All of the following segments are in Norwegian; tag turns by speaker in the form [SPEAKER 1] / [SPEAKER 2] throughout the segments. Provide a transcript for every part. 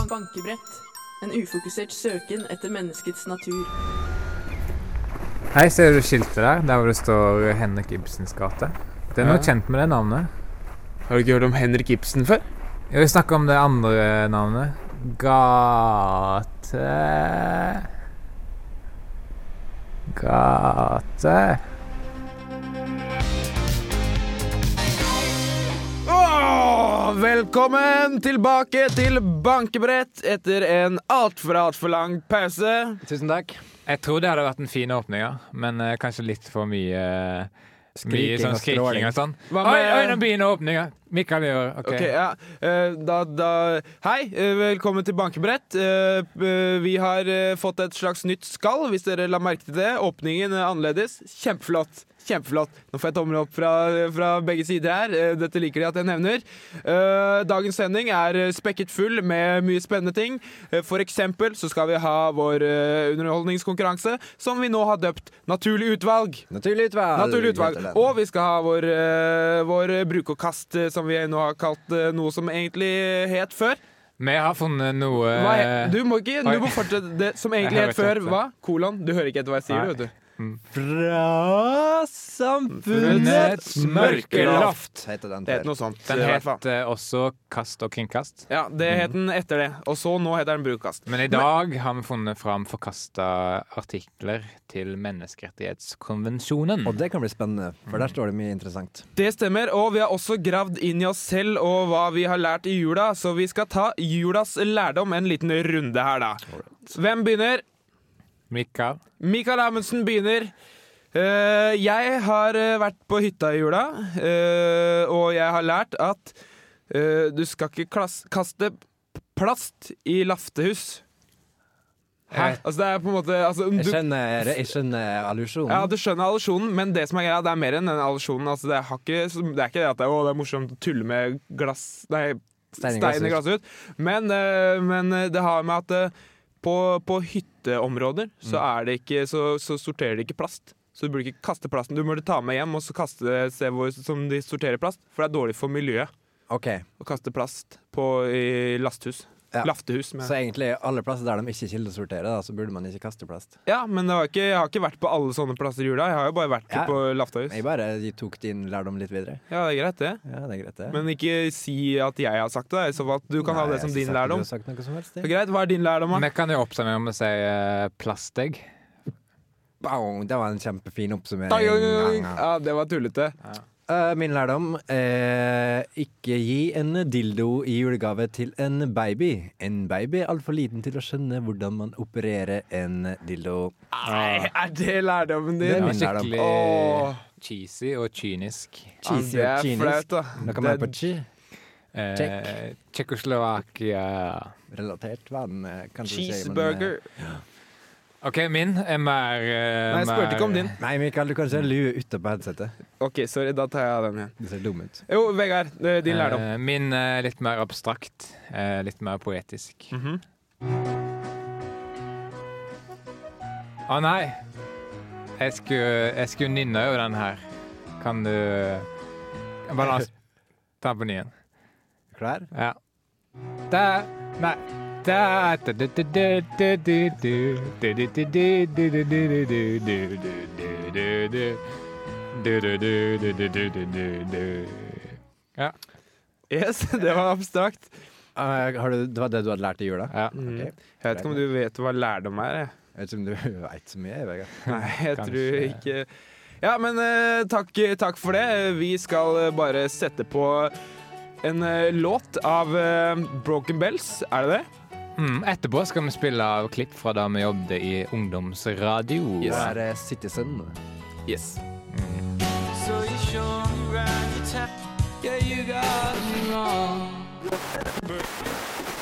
[SPEAKER 1] uforberedt. En ufokusert søken etter menneskets natur.
[SPEAKER 2] Hei, ser du skiltet der? Der hvor det står Henrik Ibsens gate? Det er noe
[SPEAKER 3] Ja.
[SPEAKER 2] kjent med det navnet.
[SPEAKER 3] Har du ikke hørt om Henrik Ibsen før?
[SPEAKER 2] Jeg vil snakke om det andre navnet. Gate Gate
[SPEAKER 3] Åh, velkommen tilbake til bankebrett etter en altfor, altfor lang pause. Tusen takk.
[SPEAKER 2] Jeg tror det hadde vært en fin åpning, ja. Men eh, kanskje litt for mye eh, mye
[SPEAKER 4] Skriking
[SPEAKER 2] sånn
[SPEAKER 4] og
[SPEAKER 2] skriking
[SPEAKER 4] skråling.
[SPEAKER 2] og sånn.
[SPEAKER 3] Hva
[SPEAKER 2] Oi,
[SPEAKER 3] med-
[SPEAKER 2] oi, nå begynner åpninga! Mikael gjør OK.
[SPEAKER 3] Ok, ja. Eh, Da, da Hei, eh, velkommen til bankebrett. Eh, eh, Vi har eh, fått et slags nytt skall, hvis dere la merke til det. Åpningen er annerledes. Kjempeflott. Kjempeflott. Nå får jeg tommel opp fra, fra begge sider her. Eh, Dette liker de at jeg nevner. Eh, Dagens sending er eh, spekket full med mye spennende ting. Eh, For eksempel så skal vi ha vår eh, underholdningskonkurranse, som vi nå har døpt Naturlig utvalg.
[SPEAKER 4] Naturlig utvalg.
[SPEAKER 3] Naturlig utvalg. Og vi skal ha vår, eh, vår bruk og kast, eh, som vi nå har kalt eh, noe som egentlig het før.
[SPEAKER 2] Vi har funnet noe
[SPEAKER 3] Hva he, du må ikke
[SPEAKER 2] Eh, oi.
[SPEAKER 3] du må fortsette det som egentlig
[SPEAKER 2] Jeg
[SPEAKER 3] het
[SPEAKER 2] hører
[SPEAKER 3] før.
[SPEAKER 2] ikke
[SPEAKER 3] Hva? Kolon. Du hører ikke etter hva jeg sier,
[SPEAKER 2] Nei.
[SPEAKER 3] vet du.
[SPEAKER 4] Fra samfunnets
[SPEAKER 2] mørkeloft,
[SPEAKER 4] heter den
[SPEAKER 3] Det het noe sånt.
[SPEAKER 2] Den
[SPEAKER 3] i hvert fall.
[SPEAKER 2] het Mhm. eh, også Kast og kringkast.
[SPEAKER 3] Ja, det het den etter det. Og så nå heter den bruk og kast.
[SPEAKER 2] Men i dag har vi funnet fram forkasta artikler til menneskerettighetskonvensjonen.
[SPEAKER 4] Og det kan bli spennende, for der står det mye interessant.
[SPEAKER 3] Det stemmer, og vi har også gravd inn i oss selv og hva vi har lært i jula, så vi skal ta julas lærdom en liten runde her, da. Hvem begynner?
[SPEAKER 2] Mikael,
[SPEAKER 3] Mikael Amundsen begynner. Eh, jeg har eh, vært på hytta i jula, eh, og jeg har lært at eh, du skal ikke klass kaste plast i laftehus. Hæ?
[SPEAKER 2] Eh.
[SPEAKER 3] Altså, det er på en måte altså,
[SPEAKER 4] Jeg
[SPEAKER 3] du,
[SPEAKER 4] skjønner, jeg skjønner allusjonen.
[SPEAKER 3] ja, du skjønner allusjonen, men det som er greia, det er mer enn den allusjonen. Altså, det, har ikke, det er ikke det at det, er, å, det er morsomt å tulle med glass Nei, stein
[SPEAKER 4] Stein i
[SPEAKER 3] i
[SPEAKER 4] glasshus.
[SPEAKER 3] glasset ut. Men, eh, men eh, det har med at eh, på, på hytteområder så,
[SPEAKER 4] Mm.
[SPEAKER 3] er det ikke, så, så sorterer de ikke plast. Så du burde ikke kaste plasten. Du burde ta med hjem og så kaste det et sted hvor, som de sorterer plast. For det er dårlig for miljøet
[SPEAKER 4] Ok,
[SPEAKER 3] å kaste plast på, i lasthus.
[SPEAKER 4] Ja.
[SPEAKER 3] Laftehus.
[SPEAKER 4] Så
[SPEAKER 3] Med.
[SPEAKER 4] egentlig alle plasser der de ikke kildesorterer, da, så burde man ikke kaste plast.
[SPEAKER 3] Ja, men det var ikke, jeg har ikke vært på alle sånne plasser i jula. Jeg har jo bare vært
[SPEAKER 4] Ja.
[SPEAKER 3] på laftehus.
[SPEAKER 4] Jeg bare tok din lærdom litt videre.
[SPEAKER 3] Ja, det er greit, det.
[SPEAKER 4] Ja, det er greit, det.
[SPEAKER 3] Men ikke si at jeg har sagt det. I så fall at du kan ha
[SPEAKER 4] Nei,
[SPEAKER 3] det som
[SPEAKER 4] jeg
[SPEAKER 3] din
[SPEAKER 4] har
[SPEAKER 3] lærdom.
[SPEAKER 4] ikke sagt at du har sagt noe som helst,
[SPEAKER 3] Så
[SPEAKER 4] det.
[SPEAKER 3] greit, Hva er din lærdom, da?
[SPEAKER 2] vi kan jo oppsummere med å si eh, plastegg.
[SPEAKER 4] Bang, det var en kjempefin oppsummering.
[SPEAKER 3] Ja, det var tullete.
[SPEAKER 4] Eh, min lærdom eh, ikke gi en dildo i julegave til en baby. En baby er altfor liten til å skjønne hvordan man opererer en dildo.
[SPEAKER 3] Nei, er det lærdommen
[SPEAKER 4] Det er
[SPEAKER 3] din?
[SPEAKER 4] min lærdom.
[SPEAKER 2] Skikkelig
[SPEAKER 3] Åh.
[SPEAKER 2] cheesy og kynisk.
[SPEAKER 4] Cheesy
[SPEAKER 3] Ja,
[SPEAKER 4] og
[SPEAKER 3] det er flaut,
[SPEAKER 4] kynisk.
[SPEAKER 3] da.
[SPEAKER 4] Noe mer
[SPEAKER 3] Det-
[SPEAKER 4] på chi?
[SPEAKER 2] Eh,
[SPEAKER 4] Check.
[SPEAKER 2] Tsjekkoslovakia
[SPEAKER 4] Relatert vann, eh, kanskje du sier, men, eh,
[SPEAKER 3] Cheeseburger.
[SPEAKER 2] OK, min er mer eh,
[SPEAKER 3] Nei, jeg spurte ikke om din.
[SPEAKER 4] Nei, Mikael, du kan ikke ha lue utapå headsetet.
[SPEAKER 3] OK, sorry, da tar jeg den igjen.
[SPEAKER 4] Du ser dum ut.
[SPEAKER 3] Jo, Vegard, eh, din lærdom.
[SPEAKER 2] Eh, min er litt mer abstrakt. eh, litt mer poetisk. Å
[SPEAKER 3] Mhm.
[SPEAKER 2] nei! Jeg skulle, jeg skulle nynne over den her. Kan du Bare la oss ta på nyen.
[SPEAKER 4] Klar?
[SPEAKER 2] Ja. Da Nei. Da Ja.
[SPEAKER 3] Yes, det var abstrakt.
[SPEAKER 4] Eh, har du, det var det du hadde lært i jula?
[SPEAKER 2] ja.
[SPEAKER 3] Mm.
[SPEAKER 4] Ok.
[SPEAKER 3] Jeg vet ikke om du vet hva lærdom er. Jeg.
[SPEAKER 4] Jeg vet ikke om du veit så mye, Vegard.
[SPEAKER 3] Nei, jeg tror
[SPEAKER 2] Kanskje.
[SPEAKER 3] ikke Ja, men eh, takk, takk for det. Vi skal eh, bare sette på en eh, låt av eh, Broken Bells, er det det?
[SPEAKER 2] Mm, etterpå skal vi spille av klipp fra da vi jobbet i ungdomsradio.
[SPEAKER 4] Du er eh, citizen.
[SPEAKER 3] Yes.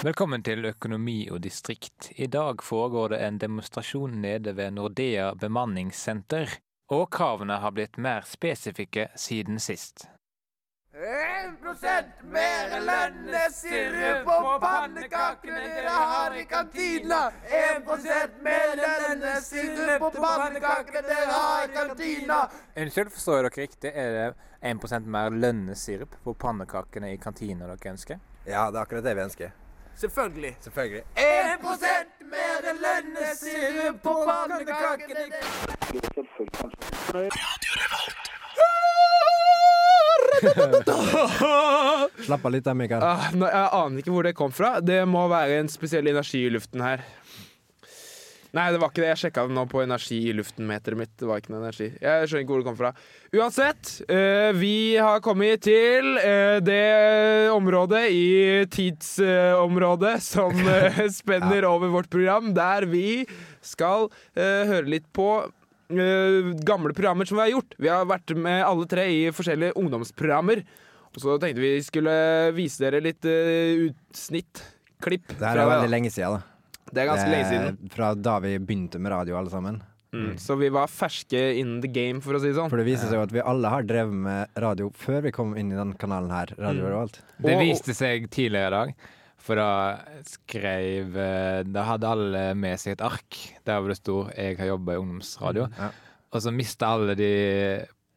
[SPEAKER 2] Velkommen til Økonomi og distrikt. I dag foregår det en demonstrasjon nede ved Nordea bemanningssenter, og kravene har blitt mer spesifikke siden sist.
[SPEAKER 5] 1 mer lønnesirup på pannekakene dere har i kantina! 1 mer lønnesirup på pannekakene dere har i kantina!
[SPEAKER 2] Unnskyld, forstår dere riktig? Er det 1 mer lønnesirup på pannekakene i kantina dere ønsker?
[SPEAKER 4] Ja, det er akkurat det vi ønsker.
[SPEAKER 5] Selvfølgelig.
[SPEAKER 4] Selvfølgelig.
[SPEAKER 5] 1 mer lønnesirup på pannekakene
[SPEAKER 4] Slapp av litt da, Mikael.
[SPEAKER 3] Ah, nå- jeg aner ikke hvor det kom fra. Det må være en spesiell energi i luften her. Nei, det var ikke det. Jeg sjekka det nå på energi i luften-meteret mitt. Det var ikke noe energi. Jeg skjønner ikke hvor det kom fra. Uansett, eh, vi har kommet til eh, det området i tidsområdet som eh, spenner over vårt program, der vi skal eh, høre litt på eh, gamle programmer som vi har gjort. Vi har vært med alle tre i forskjellige ungdomsprogrammer. Og så tenkte vi skulle vise dere litt eh, utsnitt, klipp.
[SPEAKER 4] Det
[SPEAKER 3] fra
[SPEAKER 4] her er
[SPEAKER 3] det, da.
[SPEAKER 4] veldig lenge siden, da.
[SPEAKER 3] det er ganske
[SPEAKER 4] Det
[SPEAKER 3] lenge
[SPEAKER 4] er
[SPEAKER 3] siden.
[SPEAKER 4] Eh, Fra da vi begynte med radio, alle sammen.
[SPEAKER 3] Mm. Så vi var ferske in the game, for å si det sånn.
[SPEAKER 4] For det viser seg jo at vi alle har drevet med radio før vi kom inn i den kanalen her.
[SPEAKER 3] Mm.
[SPEAKER 4] Radio Revolt.
[SPEAKER 2] Det
[SPEAKER 3] Og-
[SPEAKER 2] viste seg tidligere i dag, for da skrev eh, Da hadde alle med seg et ark der hvor det sto 'Jeg har jobba i ungdomsradio',
[SPEAKER 3] Mm.
[SPEAKER 4] Ja.
[SPEAKER 2] og så mista alle de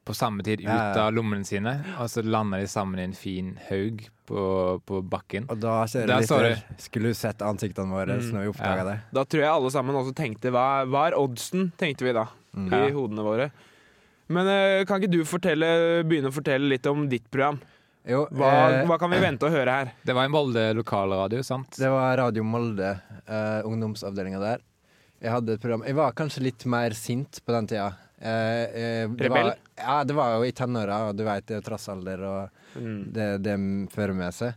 [SPEAKER 2] på samme tid
[SPEAKER 4] Ja, ja.
[SPEAKER 2] ut av lommene sine, og så landa de sammen i en fin haug på, på bakken.
[SPEAKER 4] Og da, kjører
[SPEAKER 2] Der
[SPEAKER 4] vi
[SPEAKER 2] sa
[SPEAKER 4] litt der. Skulle du sett ansiktene
[SPEAKER 3] Mm.
[SPEAKER 4] våre når vi oppdaga det?
[SPEAKER 3] Da tror jeg alle sammen også tenkte Hva, hva er oddsen, tenkte vi da,
[SPEAKER 4] Mm.
[SPEAKER 3] i
[SPEAKER 2] Ja.
[SPEAKER 3] hodene våre. Men eh, kan ikke du fortelle, begynne å fortelle litt om ditt program?
[SPEAKER 4] Jo,
[SPEAKER 3] Hva,
[SPEAKER 4] eh,
[SPEAKER 3] hva kan vi vente å høre her?
[SPEAKER 2] Det var i Molde lokalradio, sant?
[SPEAKER 4] Det var Radio Molde, eh, ungdomsavdelinga der. Jeg hadde et program Jeg var kanskje litt mer sint på den tida. Eh, eh, det
[SPEAKER 3] Rebell?
[SPEAKER 4] Var, ja, det var jo i tenåra, og du veit det er trass alder og
[SPEAKER 3] Mm.
[SPEAKER 4] det det fører med seg.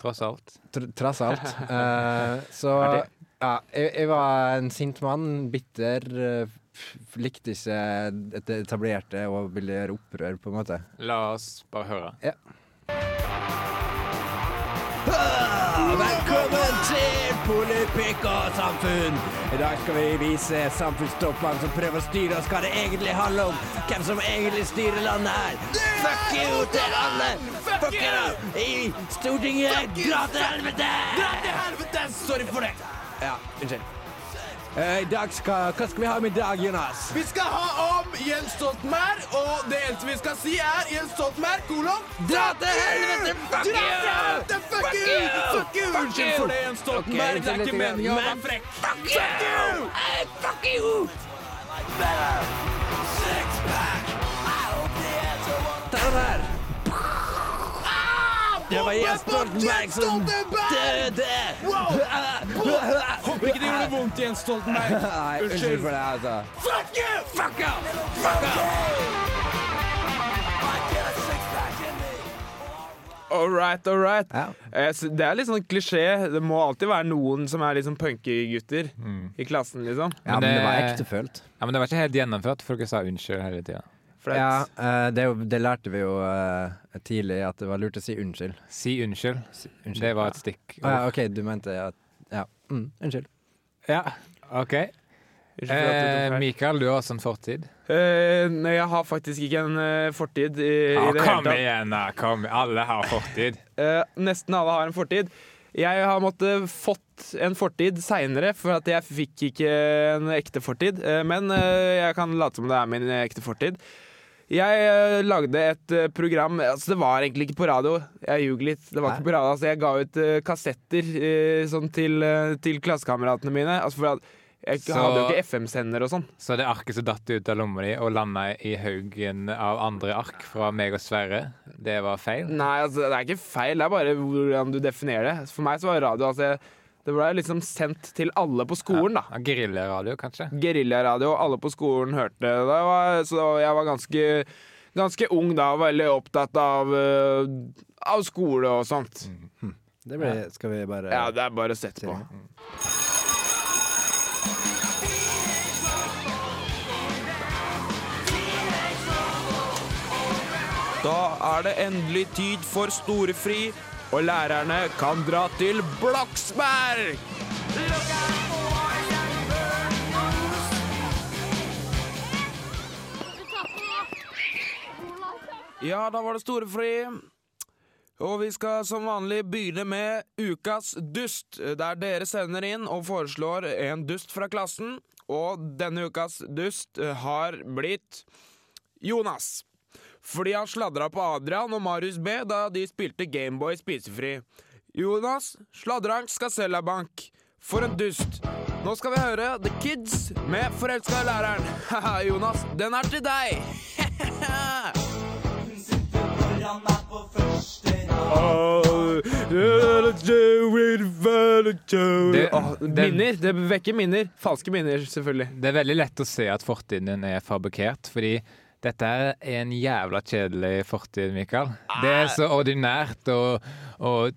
[SPEAKER 2] Tross alt.
[SPEAKER 4] Tr trass alt. Eh, så
[SPEAKER 3] Artig.
[SPEAKER 4] ja, jeg, jeg var en sint mann, bitter. eh, f- Likte ikke det etablerte og ville gjøre opprør, på en måte.
[SPEAKER 2] La oss bare høre.
[SPEAKER 4] Velkommen til Politikersamfunn! I dag skal vi vise samfunnstoppene som prøver å styre oss hva det egentlig handler om. Hvem som egentlig styrer landet her. Fuck you til alle! Fuck you! I Stortinget! Dra til helvete! Dra til helvete! Sorry for det. Ja, unnskyld. Eh, I dag skal, Hva skal vi ha med i dag, Jonas?
[SPEAKER 5] Vi skal ha om Jens Stoltenberg, og det eneste vi skal si er Jens Stoltenberg, kolon
[SPEAKER 4] Dra til helvete! Fuck
[SPEAKER 5] Dra
[SPEAKER 4] you!
[SPEAKER 5] til helvete! Fuck
[SPEAKER 4] Fuck
[SPEAKER 5] you!
[SPEAKER 4] you!
[SPEAKER 5] Fuck you! Unnskyld for det, Jens Stoltenberg.
[SPEAKER 4] Ok,
[SPEAKER 5] det er
[SPEAKER 4] unnskyld litt,
[SPEAKER 5] ikke meningen å være
[SPEAKER 4] men-
[SPEAKER 5] frekk.
[SPEAKER 4] Fuck you! Hey, fuck you! Ta den her. Det var Jens
[SPEAKER 5] Ah,
[SPEAKER 4] Stoltenberg som døde! Håper ikke det gjorde vondt, Jens Stoltenberg. Nei, unnskyld for det, altså. Fuck you! Fuck you! Fuck
[SPEAKER 3] All right, all right.
[SPEAKER 4] Ja.
[SPEAKER 3] Eh, s- Det er litt sånn klisjé. Det må alltid være noen som er litt sånn punkegutter
[SPEAKER 2] Mm.
[SPEAKER 3] i klassen, liksom.
[SPEAKER 2] Ja, men det var ekte
[SPEAKER 4] følt.
[SPEAKER 2] Ja, Men det var ikke helt gjennomført, for dere sa unnskyld hele tida.
[SPEAKER 3] Flaut.
[SPEAKER 4] Ja, eh, det, er jo- det lærte vi jo eh, tidlig, at det var lurt å si unnskyld.
[SPEAKER 2] Si unnskyld.
[SPEAKER 4] unnskyld,
[SPEAKER 2] Det var et stikk.
[SPEAKER 4] Ah, ja, OK, du mente at Ja, mm, unnskyld.
[SPEAKER 2] Ja, OK.
[SPEAKER 3] Unnskyld for at jeg tok
[SPEAKER 2] Eh,
[SPEAKER 3] feil.
[SPEAKER 2] Mikael, du har også en fortid.
[SPEAKER 3] Eh, nei, jeg har faktisk ikke en eh, fortid i,
[SPEAKER 2] Ja,
[SPEAKER 3] i det hele
[SPEAKER 2] kom
[SPEAKER 3] tatt.
[SPEAKER 2] igjen, da. Kom. Alle har fortid.
[SPEAKER 3] Eh, nesten alle har en fortid. Jeg har måttet fått en fortid seinere, for at jeg fikk ikke en ekte fortid. Eh, men eh, jeg kan late som det er min ekte fortid. Jeg eh, lagde et eh, program altså Det var egentlig ikke på radio. Jeg ljug litt. Det var
[SPEAKER 4] Hæ?
[SPEAKER 3] ikke på radio, altså Jeg ga ut eh, kassetter eh, sånn til, uh, til klassekameratene mine. Altså for at jeg
[SPEAKER 2] Så-
[SPEAKER 3] hadde jo ikke FM-sender og sånn.
[SPEAKER 2] Så det arket som datt ut av lomma di og landa i haugen av andre ark fra meg og Sverre, det var feil?
[SPEAKER 3] Nei, altså, det er ikke feil. Det er bare hvordan du definerer det. For meg så var radio altså, Det ble liksom sendt til alle på skolen, da.
[SPEAKER 2] Ja, Geriljaradio, kanskje?
[SPEAKER 3] Geriljaradio, alle på skolen hørte det. Det var, så jeg var ganske, ganske ung da, og veldig opptatt av, eh, av skole og sånt.
[SPEAKER 4] Det ble, skal vi bare
[SPEAKER 3] Ja, det er bare å sette på. Da er det endelig tid for storefri, og lærerne kan dra til Blaksberg! Ja, da var det storefri. Og vi skal som vanlig begynne med ukas dust, der dere sender inn og foreslår en dust fra klassen. Og denne ukas dust eh, har blitt Jonas. Fordi han sladra på Adrian og Marius B da de spilte Gameboy spisefri. Jonas Sladrank skal selge bank. For en dust. Nå skal vi høre The Kids med Forelska i læreren. Haha, Jonas, den er til deg. Det,
[SPEAKER 2] Åh,
[SPEAKER 3] minner. Det vekker minner. Falske minner, selvfølgelig.
[SPEAKER 2] Det er veldig lett å se at fortiden er fabrikkert, fordi dette er en jævla kjedelig fortid, Mikael. Det er så ordinært og, og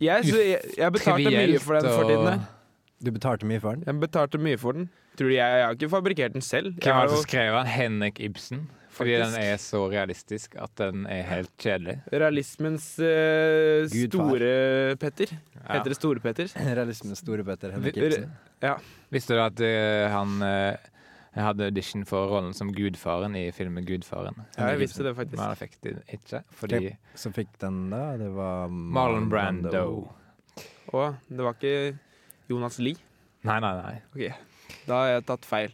[SPEAKER 3] Jeg, så, jeg, jeg betalte
[SPEAKER 2] trivielt.
[SPEAKER 3] mye for den fortiden der.
[SPEAKER 2] og-
[SPEAKER 4] Du betalte mye for den?
[SPEAKER 3] Jeg betalte mye for den. Tror du jeg, jeg har ikke fabrikkert den selv. Jeg
[SPEAKER 2] Hvem var
[SPEAKER 3] har
[SPEAKER 2] det som
[SPEAKER 3] jo
[SPEAKER 2] skrev den? Henrik Ibsen? Fordi
[SPEAKER 3] Faktisk.
[SPEAKER 2] den er så realistisk at den er helt kjedelig.
[SPEAKER 3] realismens eh,
[SPEAKER 4] Gud, far.
[SPEAKER 3] store Petter.
[SPEAKER 2] Ja.
[SPEAKER 3] Heter det Store Petter?
[SPEAKER 4] Realismens store Petter Henrik
[SPEAKER 2] Vi-
[SPEAKER 4] Ibsen.
[SPEAKER 2] Visste du at eh, han eh, hadde audition for rollen som gudfaren i filmen 'Gudfaren'?
[SPEAKER 3] Ja, jeg
[SPEAKER 2] Henrik
[SPEAKER 3] visste
[SPEAKER 2] Ibsen.
[SPEAKER 3] det faktisk.
[SPEAKER 2] Men han fikk det ikke, fordi
[SPEAKER 4] Som fikk den da, det var
[SPEAKER 2] Marlon Brando
[SPEAKER 3] Og det var ikke Jonas Lie.
[SPEAKER 2] Nei, nei, nei.
[SPEAKER 3] Da har jeg tatt feil.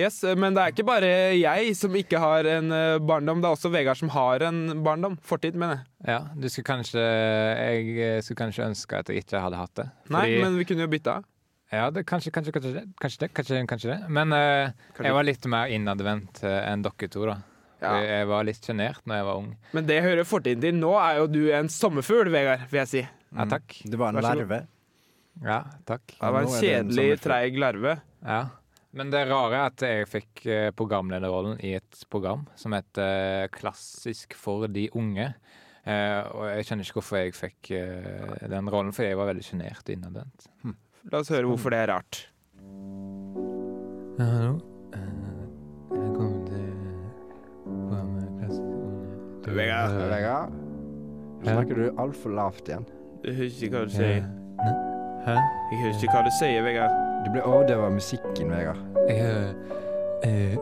[SPEAKER 3] Yes, eh, Men det er ikke bare jeg som ikke har en eh, barndom. Det er også Vegard som har en barndom. Fortid, mener jeg.
[SPEAKER 2] Ja, du skulle kanskje Jeg eh, skulle kanskje ønske at jeg ikke hadde hatt det.
[SPEAKER 3] Nei,
[SPEAKER 2] Fordi-
[SPEAKER 3] men vi kunne jo bytta.
[SPEAKER 2] Ja, det, kanskje, kanskje, kanskje det. Kanskje det, kanskje, det, kanskje det. Men eh,
[SPEAKER 3] Kanskje-
[SPEAKER 2] jeg var litt mer innadvendt eh, enn dere to, da.
[SPEAKER 3] Ja.
[SPEAKER 2] Fordi Jeg var litt sjenert når jeg var ung.
[SPEAKER 3] Men det hører fortiden til. Nå er jo du en sommerfugl, Vegard, vil jeg si.
[SPEAKER 2] Ja, takk.
[SPEAKER 4] Du var en
[SPEAKER 3] Vær så god.
[SPEAKER 4] larve.
[SPEAKER 2] Ja, takk.
[SPEAKER 3] Det var
[SPEAKER 4] Nå
[SPEAKER 3] en
[SPEAKER 4] er det en
[SPEAKER 3] kjedelig,
[SPEAKER 4] sommerfugl.
[SPEAKER 3] treig larve.
[SPEAKER 2] Ja. Men det rare er at jeg fikk eh, programlederrollen i et program som heter eh, Klassisk for de unge. Eh, og jeg skjønner ikke hvorfor jeg fikk eh, den rollen, for jeg var veldig sjenert og innadvendt.
[SPEAKER 3] La oss høre hvorfor det er rart.
[SPEAKER 2] Ja, hallo. Eh, Jeg kom til programmet Klassisk unge.
[SPEAKER 4] Eh,
[SPEAKER 6] Vegard, nå
[SPEAKER 2] Ja.
[SPEAKER 6] snakker du altfor lavt igjen.
[SPEAKER 3] Du hører ikke hva du sier.
[SPEAKER 2] Hæ?
[SPEAKER 3] Jeg hører ikke hva du sier, Vegard.
[SPEAKER 6] Du ble overdøvet av musikken, Vegard.
[SPEAKER 2] Jeg hører eh,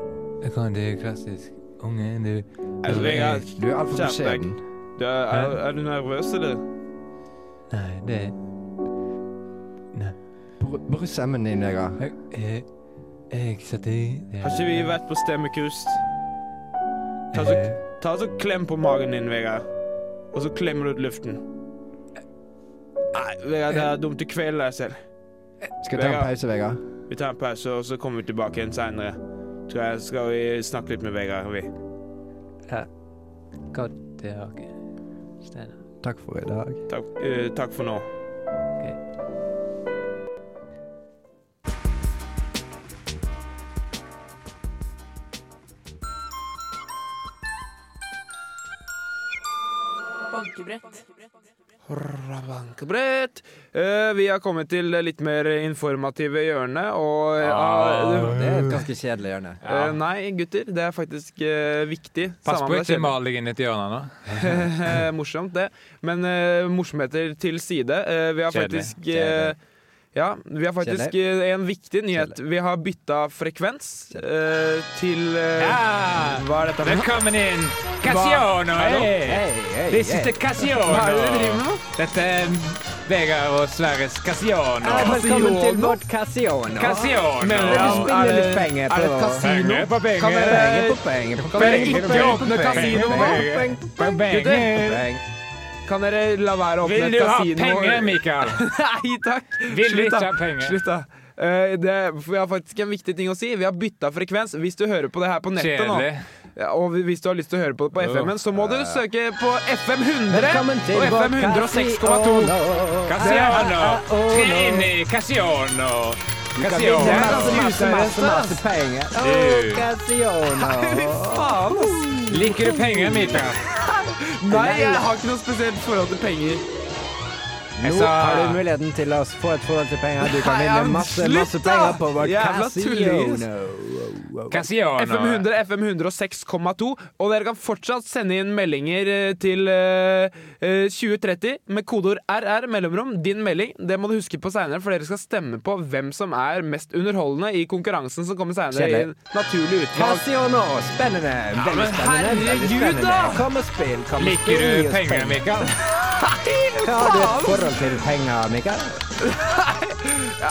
[SPEAKER 2] Jeg kan det klassisk unge du.
[SPEAKER 3] Altså, Vegard,
[SPEAKER 6] Du er altfor
[SPEAKER 3] Skjerp deg.
[SPEAKER 6] beskjeden.
[SPEAKER 3] du er, er, er du nervøs, eller?
[SPEAKER 2] Nei, det
[SPEAKER 6] Bru- Bruk stemmen din, Vegard.
[SPEAKER 2] Jeg, jeg, eh, jeg setter i det-
[SPEAKER 3] Har ikke vi vært på Stemmekrust? Ta så,
[SPEAKER 2] Eh,
[SPEAKER 3] ta så klem på magen din, Vegard. Og så klemmer du ut luften. Nei, Vegard, det er dumt. Du kveler deg selv.
[SPEAKER 6] Skal vi ta en
[SPEAKER 3] Vegard.
[SPEAKER 6] pause, Vegard?
[SPEAKER 3] Vi tar en pause, og så kommer vi tilbake igjen seinere. Tror jeg skal vi snakke litt med Vegard, vi.
[SPEAKER 2] Godt det har jeg. Steinar.
[SPEAKER 6] Takk for i dag.
[SPEAKER 3] Takk, eh, takk for nå.
[SPEAKER 1] Bankebrett.
[SPEAKER 3] Rabankebrett. Eh, vi har kommet til det litt mer informative hjørnet, og eh, ah,
[SPEAKER 4] Det er et ganske kjedelig hjørne.
[SPEAKER 2] Ja.
[SPEAKER 3] eh, Nei, gutter, det er faktisk eh, viktig.
[SPEAKER 2] Pass på
[SPEAKER 3] Samme om det er
[SPEAKER 2] ikke
[SPEAKER 3] kjedelig.
[SPEAKER 2] mal deg inn i et hjørne nå.
[SPEAKER 3] Eh, Morsomt, det. Men eh, morsomheter til side. Eh, vi har
[SPEAKER 2] Kjedelig.
[SPEAKER 3] faktisk eh, Ja, vi har faktisk eh, en viktig nyhet. Vi har bytta frekvens eh, til eh, Hva er dette for noe?
[SPEAKER 2] Velkommen inn! eh? Cassiano! Hey. This is the
[SPEAKER 3] Hva er det dere
[SPEAKER 2] Cassiano!
[SPEAKER 3] driver med nå?
[SPEAKER 2] Dette er Vegard og Sverres Cassiano.
[SPEAKER 4] Velkommen til
[SPEAKER 3] Casino.
[SPEAKER 4] vårt Casino.
[SPEAKER 2] Cassiano!
[SPEAKER 4] spiller
[SPEAKER 3] Er det-
[SPEAKER 4] litt penger
[SPEAKER 3] Er det
[SPEAKER 4] på-
[SPEAKER 3] et kasino?
[SPEAKER 2] Penger på penger.
[SPEAKER 3] Kan dere
[SPEAKER 4] Penger på penger
[SPEAKER 3] Penger på
[SPEAKER 4] på penger på
[SPEAKER 3] penger.
[SPEAKER 4] penger på
[SPEAKER 3] Kasino.
[SPEAKER 4] penger på penger.
[SPEAKER 2] Penger.
[SPEAKER 4] Penger.
[SPEAKER 3] Kan dere la være å åpne
[SPEAKER 2] Vil
[SPEAKER 3] et
[SPEAKER 2] du ha
[SPEAKER 3] kasino?
[SPEAKER 2] penger, Mikael?
[SPEAKER 3] Nei takk!
[SPEAKER 2] Vil du
[SPEAKER 3] Slutt,
[SPEAKER 2] ikke
[SPEAKER 3] da.
[SPEAKER 2] ha penger?
[SPEAKER 3] Slutt, da. Eh, det, for jeg har faktisk en viktig ting å si. Vi har bytta frekvens. Hvis du hører på det her på nettet nå,
[SPEAKER 2] Kjedelig.
[SPEAKER 3] Ja, og hvis du har lyst til å høre på det på FM-en, så må du søke på FM 100
[SPEAKER 4] Velkommen til
[SPEAKER 3] og FM
[SPEAKER 4] vårt
[SPEAKER 3] 106,2.
[SPEAKER 4] Casino.
[SPEAKER 2] Cassiano!
[SPEAKER 4] Ah, ah, ah,
[SPEAKER 2] Tre
[SPEAKER 4] no.
[SPEAKER 2] inn i Cassiano!
[SPEAKER 4] Det er
[SPEAKER 2] Cassiano!
[SPEAKER 4] masse, masse, masse, masse penger. Åh,
[SPEAKER 2] Du.
[SPEAKER 3] Fy
[SPEAKER 4] Casino.
[SPEAKER 3] faen, ass!
[SPEAKER 2] Liker du penger, Mikael?
[SPEAKER 3] Nei, jeg har ikke noe spesielt forhold til penger.
[SPEAKER 4] Nå
[SPEAKER 2] sa-
[SPEAKER 4] har du muligheten til å få et forhold til penger. Du kan
[SPEAKER 3] Nei,
[SPEAKER 4] vinne
[SPEAKER 3] men
[SPEAKER 4] masse
[SPEAKER 3] slutt
[SPEAKER 4] masse
[SPEAKER 3] da!
[SPEAKER 4] penger på vårt
[SPEAKER 3] Jævla tullis.
[SPEAKER 4] casino.
[SPEAKER 2] Cassiano.
[SPEAKER 3] FM 100, FM 106,2. Og dere kan fortsatt sende inn meldinger eh, til eh, eh, 2030 med kodeord RR mellomrom. Din melding. Det må du huske på seinere, for dere skal stemme på hvem som er mest underholdende i konkurransen som kommer seinere.
[SPEAKER 4] Kjedelig.
[SPEAKER 3] Naturlig utvalg.
[SPEAKER 4] Casino. Spennende. Veldig
[SPEAKER 3] men
[SPEAKER 4] spennende. veldig
[SPEAKER 3] herregud
[SPEAKER 4] spennende.
[SPEAKER 3] da!
[SPEAKER 4] Kom og spill. Kom og
[SPEAKER 2] Liker
[SPEAKER 4] spill.
[SPEAKER 2] du penger, Mikael?
[SPEAKER 4] Har du et forhold til penger, Mikael?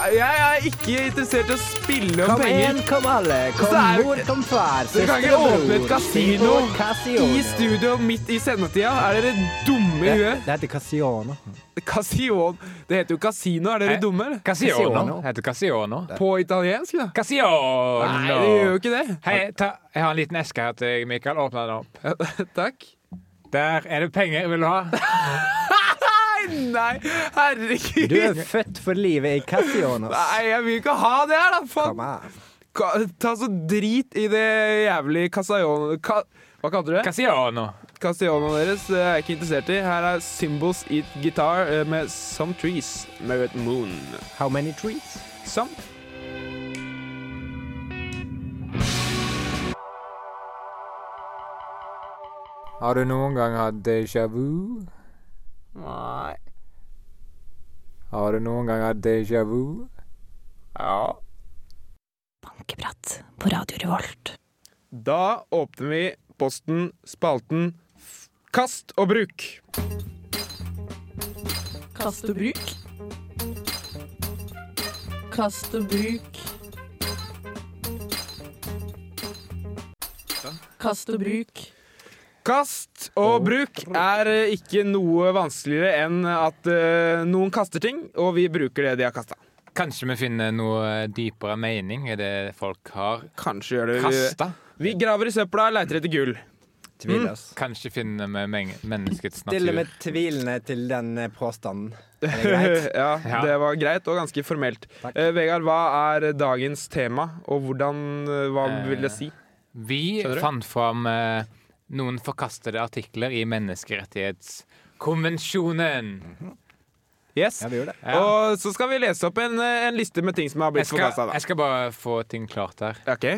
[SPEAKER 3] Jeg er ikke interessert i å spille om
[SPEAKER 4] Kom
[SPEAKER 3] penger.
[SPEAKER 4] igjen, kom alle. Kom
[SPEAKER 3] Så er det-
[SPEAKER 4] mor, kom far.
[SPEAKER 3] Dere kan
[SPEAKER 4] søster
[SPEAKER 3] ikke
[SPEAKER 4] og
[SPEAKER 3] åpne et
[SPEAKER 4] bror.
[SPEAKER 3] kasino
[SPEAKER 4] Casino.
[SPEAKER 3] I studio midt i sendetida? Er dere dumme? dumme i huet?
[SPEAKER 4] Det heter Casiano.
[SPEAKER 3] Casio Det heter jo kasino, er dere
[SPEAKER 2] Eh.
[SPEAKER 3] dumme, eller?
[SPEAKER 2] Casiono.
[SPEAKER 4] Casiono.
[SPEAKER 2] Heter Casiono.
[SPEAKER 3] På italiensk, da?
[SPEAKER 2] Casiono!
[SPEAKER 3] Nei, det gjør jo ikke det.
[SPEAKER 2] Hei, ta, jeg har en liten eske her til deg, Mikael. Åpne den opp.
[SPEAKER 3] Ja, Takk.
[SPEAKER 2] Der er det penger. Vil du ha?
[SPEAKER 3] Nei, herregud.
[SPEAKER 4] Du er født for livet i Casiano.
[SPEAKER 3] Nei, jeg vil ikke ha det her, da. Faen.
[SPEAKER 4] Kom her.
[SPEAKER 3] Ka ta så drit i det jævlig Casaion... Ka Hva kalte du det?
[SPEAKER 2] Casiono.
[SPEAKER 3] Castellano deres det er jeg ikke interessert i. Her er Symbols Eat Guitar eh, med Some Trees. Merit Moon.
[SPEAKER 4] How many trees?
[SPEAKER 3] Some.
[SPEAKER 2] Har du noen gang hatt déjà vu?
[SPEAKER 7] Nei.
[SPEAKER 2] Har du noen gang hatt déjà vu?
[SPEAKER 7] Ja.
[SPEAKER 8] Bankeprat på Radio Revolt.
[SPEAKER 3] Da åpner vi posten, spalten f- Kast og bruk.
[SPEAKER 1] Kast og bruk. Kast og bruk. Kast og bruk.
[SPEAKER 3] Kast og bruk er eh, ikke noe vanskeligere enn at eh, noen kaster ting, og vi bruker det de har kasta.
[SPEAKER 2] Kanskje vi finner noe dypere mening i det folk har
[SPEAKER 3] Kanskje gjør det
[SPEAKER 2] kasta?
[SPEAKER 3] Vi graver i søpla og leiter etter gull.
[SPEAKER 4] Tvil, ass.
[SPEAKER 2] Kanskje finner vi men menneskets
[SPEAKER 4] Stille
[SPEAKER 2] natur?
[SPEAKER 4] med tvilene til den eh, påstanden. Er det greit?
[SPEAKER 3] ja,
[SPEAKER 2] Ja.
[SPEAKER 3] det var greit og ganske formelt.
[SPEAKER 4] Takk.
[SPEAKER 3] Eh, Vegard, hva er dagens tema, og hvordan eh, Hva
[SPEAKER 2] Eh,
[SPEAKER 3] vil det si?
[SPEAKER 2] Vi
[SPEAKER 3] Skjønner du?
[SPEAKER 2] fant fram eh, noen forkastede artikler i menneskerettighetskonvensjonen.
[SPEAKER 3] Yes.
[SPEAKER 4] Ja, vi gjorde det.
[SPEAKER 2] Ja.
[SPEAKER 3] Og så skal vi lese opp en, eh, en liste med ting som har
[SPEAKER 2] Jeg
[SPEAKER 3] blitt forkasta.
[SPEAKER 2] skal, jeg skal bare få ting klart her.
[SPEAKER 3] Ok.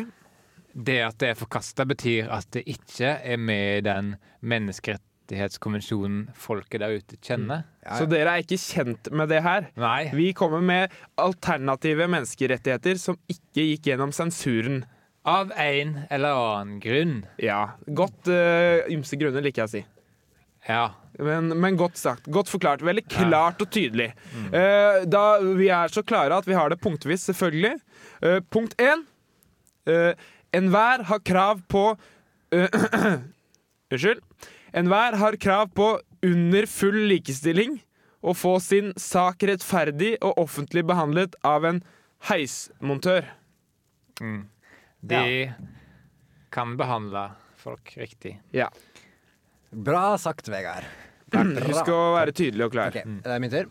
[SPEAKER 2] Det at det er forkasta, betyr at det ikke er med i den menneskerettighetskonvensjonen folket der ute kjenner.
[SPEAKER 4] Ja,
[SPEAKER 3] Så
[SPEAKER 4] ja.
[SPEAKER 3] dere er ikke kjent med det her.
[SPEAKER 2] Nei.
[SPEAKER 3] Vi kommer med alternative menneskerettigheter som ikke gikk gjennom sensuren.
[SPEAKER 2] Av en eller annen grunn.
[SPEAKER 3] Ja, Godt eh, ymse grunner, liker jeg å si.
[SPEAKER 2] Ja.
[SPEAKER 3] Men, men godt sagt. Godt forklart. Veldig klart og tydelig. Eh, da vi er så klare at vi har det punktvis, selvfølgelig. Eh, punkt én. Eh, enhver har krav på eh, Unnskyld. Enhver har krav på under full likestilling å få sin sak rettferdig og offentlig behandlet av en heismontør.
[SPEAKER 2] Mm. De kan behandle folk riktig.
[SPEAKER 3] Ja.
[SPEAKER 4] Bra sagt, Vegard.
[SPEAKER 3] Husk å være tydelig og klar.
[SPEAKER 4] Ok, det er min tur.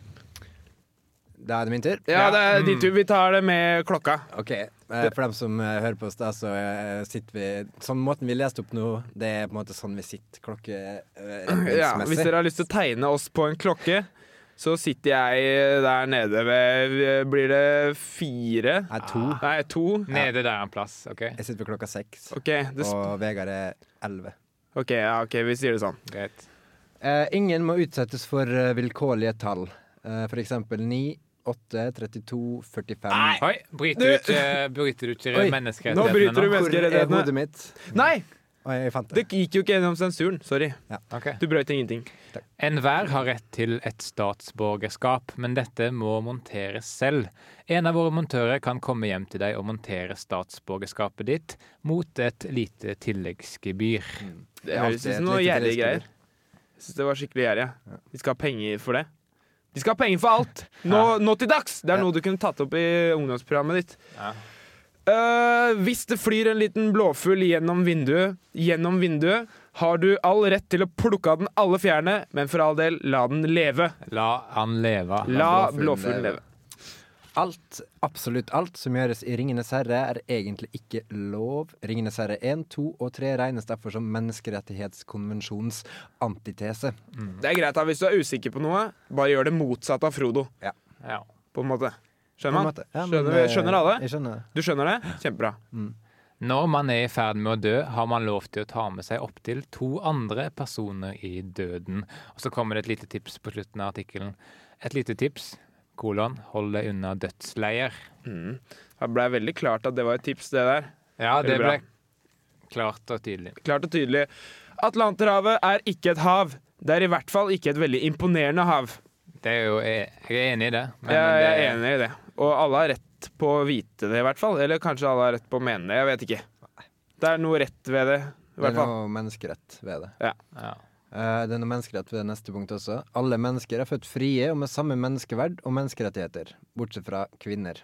[SPEAKER 4] Da er det min tur.
[SPEAKER 3] Ja, Mm. det er din tur. Vi tar det med klokka.
[SPEAKER 4] Ok, eh, For dem som eh, hører på oss, da, så eh, sitter vi Sånn måten vi leste opp nå, det er på en måte sånn vi sitter eh,
[SPEAKER 3] Ja, hvis
[SPEAKER 4] klokkeretningsmessig.
[SPEAKER 3] dere har lyst til å tegne oss på en klokke, så sitter jeg der nede ved Blir det fire?
[SPEAKER 4] Nei, to.
[SPEAKER 3] Nei, to.
[SPEAKER 2] Nede der en plass, OK?
[SPEAKER 4] Jeg sitter ved klokka seks,
[SPEAKER 3] OK, det sp
[SPEAKER 4] og Vegard er elleve.
[SPEAKER 3] ok, ja, ok, vi sier det sånn.
[SPEAKER 2] Greit.
[SPEAKER 4] Eh, ingen må utsettes for eh, vilkårlige tall. Eh, for eksempel 9, 8, 32, 45
[SPEAKER 2] Oi, bryter du ikke, bryter du ikke
[SPEAKER 4] Oi,
[SPEAKER 2] menneskerettighetene
[SPEAKER 3] nå bryter du med-
[SPEAKER 4] Hvor er
[SPEAKER 3] Menneskerettighetene.
[SPEAKER 4] hodet mitt?
[SPEAKER 3] Nei!
[SPEAKER 4] Oi, jeg fant
[SPEAKER 3] Det
[SPEAKER 4] det.
[SPEAKER 3] gikk jo ikke gjennom sensuren. Sorry.
[SPEAKER 2] Ok.
[SPEAKER 3] Du brøt ingenting.
[SPEAKER 2] Enhver har rett til et statsborgerskap, men dette må monteres selv. En av våre montører kan komme hjem til deg og montere statsborgerskapet ditt mot et lite tilleggsgebyr.
[SPEAKER 3] Det
[SPEAKER 4] er
[SPEAKER 3] høres ut som
[SPEAKER 4] alltid et
[SPEAKER 3] noe
[SPEAKER 4] lite
[SPEAKER 3] gjerrige
[SPEAKER 4] tilleggsgebyr.
[SPEAKER 3] greier. Jeg synes det var skikkelig gjerrig. ja. De skal ha penger for det. De skal ha penger for alt! Nå, nå til dags! Det er
[SPEAKER 4] Ja.
[SPEAKER 3] noe du kunne tatt opp i ungdomsprogrammet ditt.
[SPEAKER 2] Ja.
[SPEAKER 3] Eh, hvis det flyr en liten blåfugl gjennom vinduet, gjennom vinduet, har du all rett til å plukke av den alle fjærene, men for all del, la den leve.
[SPEAKER 2] La han leve.
[SPEAKER 3] La
[SPEAKER 4] blåfuglen
[SPEAKER 3] blåfuglen
[SPEAKER 4] leve.
[SPEAKER 3] leve.
[SPEAKER 4] Alt, absolutt alt, som gjøres i Ringenes herre, er egentlig ikke lov. Ringenes herre 1, 2 og 3 regnes derfor som menneskerettighetskonvensjonens antitese.
[SPEAKER 3] Det er greit da, hvis du er usikker på noe, bare gjør det motsatte av Frodo,
[SPEAKER 2] Ja.
[SPEAKER 3] på en måte.
[SPEAKER 4] På
[SPEAKER 3] Skjønner
[SPEAKER 4] en
[SPEAKER 3] man?
[SPEAKER 4] måte. Ja,
[SPEAKER 3] Skjønner
[SPEAKER 4] men,
[SPEAKER 3] vi- skjønner
[SPEAKER 4] eh,
[SPEAKER 3] alle?
[SPEAKER 4] Jeg skjønner.
[SPEAKER 3] Du skjønner det? Kjempebra.
[SPEAKER 2] Når man er i ferd med å dø, har man lov til å ta med seg opptil to andre personer i døden. Og så kommer det et lite tips på slutten av artikkelen. Et lite tips, kolon, hold deg unna dødsleier.
[SPEAKER 3] Mm. Det ble veldig klart at det var et tips, det der.
[SPEAKER 2] Ja,
[SPEAKER 3] Veldig
[SPEAKER 2] det
[SPEAKER 3] bra.
[SPEAKER 2] ble klart og tydelig.
[SPEAKER 3] Klart og tydelig. Atlanterhavet er ikke et hav. Det er i hvert fall ikke et veldig imponerende hav.
[SPEAKER 2] Det er jo, jeg er enig i det. men eh,
[SPEAKER 3] Jeg, jeg
[SPEAKER 2] det-
[SPEAKER 3] er enig i det. Og alle har rett på å vite det, i hvert fall. Eller kanskje alle har rett på å mene det. Jeg vet ikke. Det er noe rett ved det, i
[SPEAKER 4] Det er
[SPEAKER 3] hvert fall.
[SPEAKER 4] noe menneskerett ved det.
[SPEAKER 2] Ja.
[SPEAKER 6] Eh, det er noe menneskerett ved det neste punkt også. Alle mennesker er født frie og med samme menneskeverd og menneskerettigheter, bortsett fra kvinner.